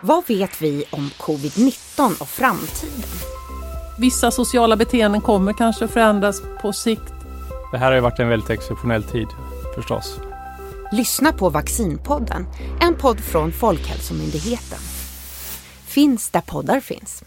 Vad vet vi om covid-19 och framtiden? Vissa sociala beteenden kommer kanske förändras på sikt. Det här har ju varit en väldigt exceptionell tid förstås. Lyssna på Vaccinpodden, en podd från Folkhälsomyndigheten. Finns där poddar finns.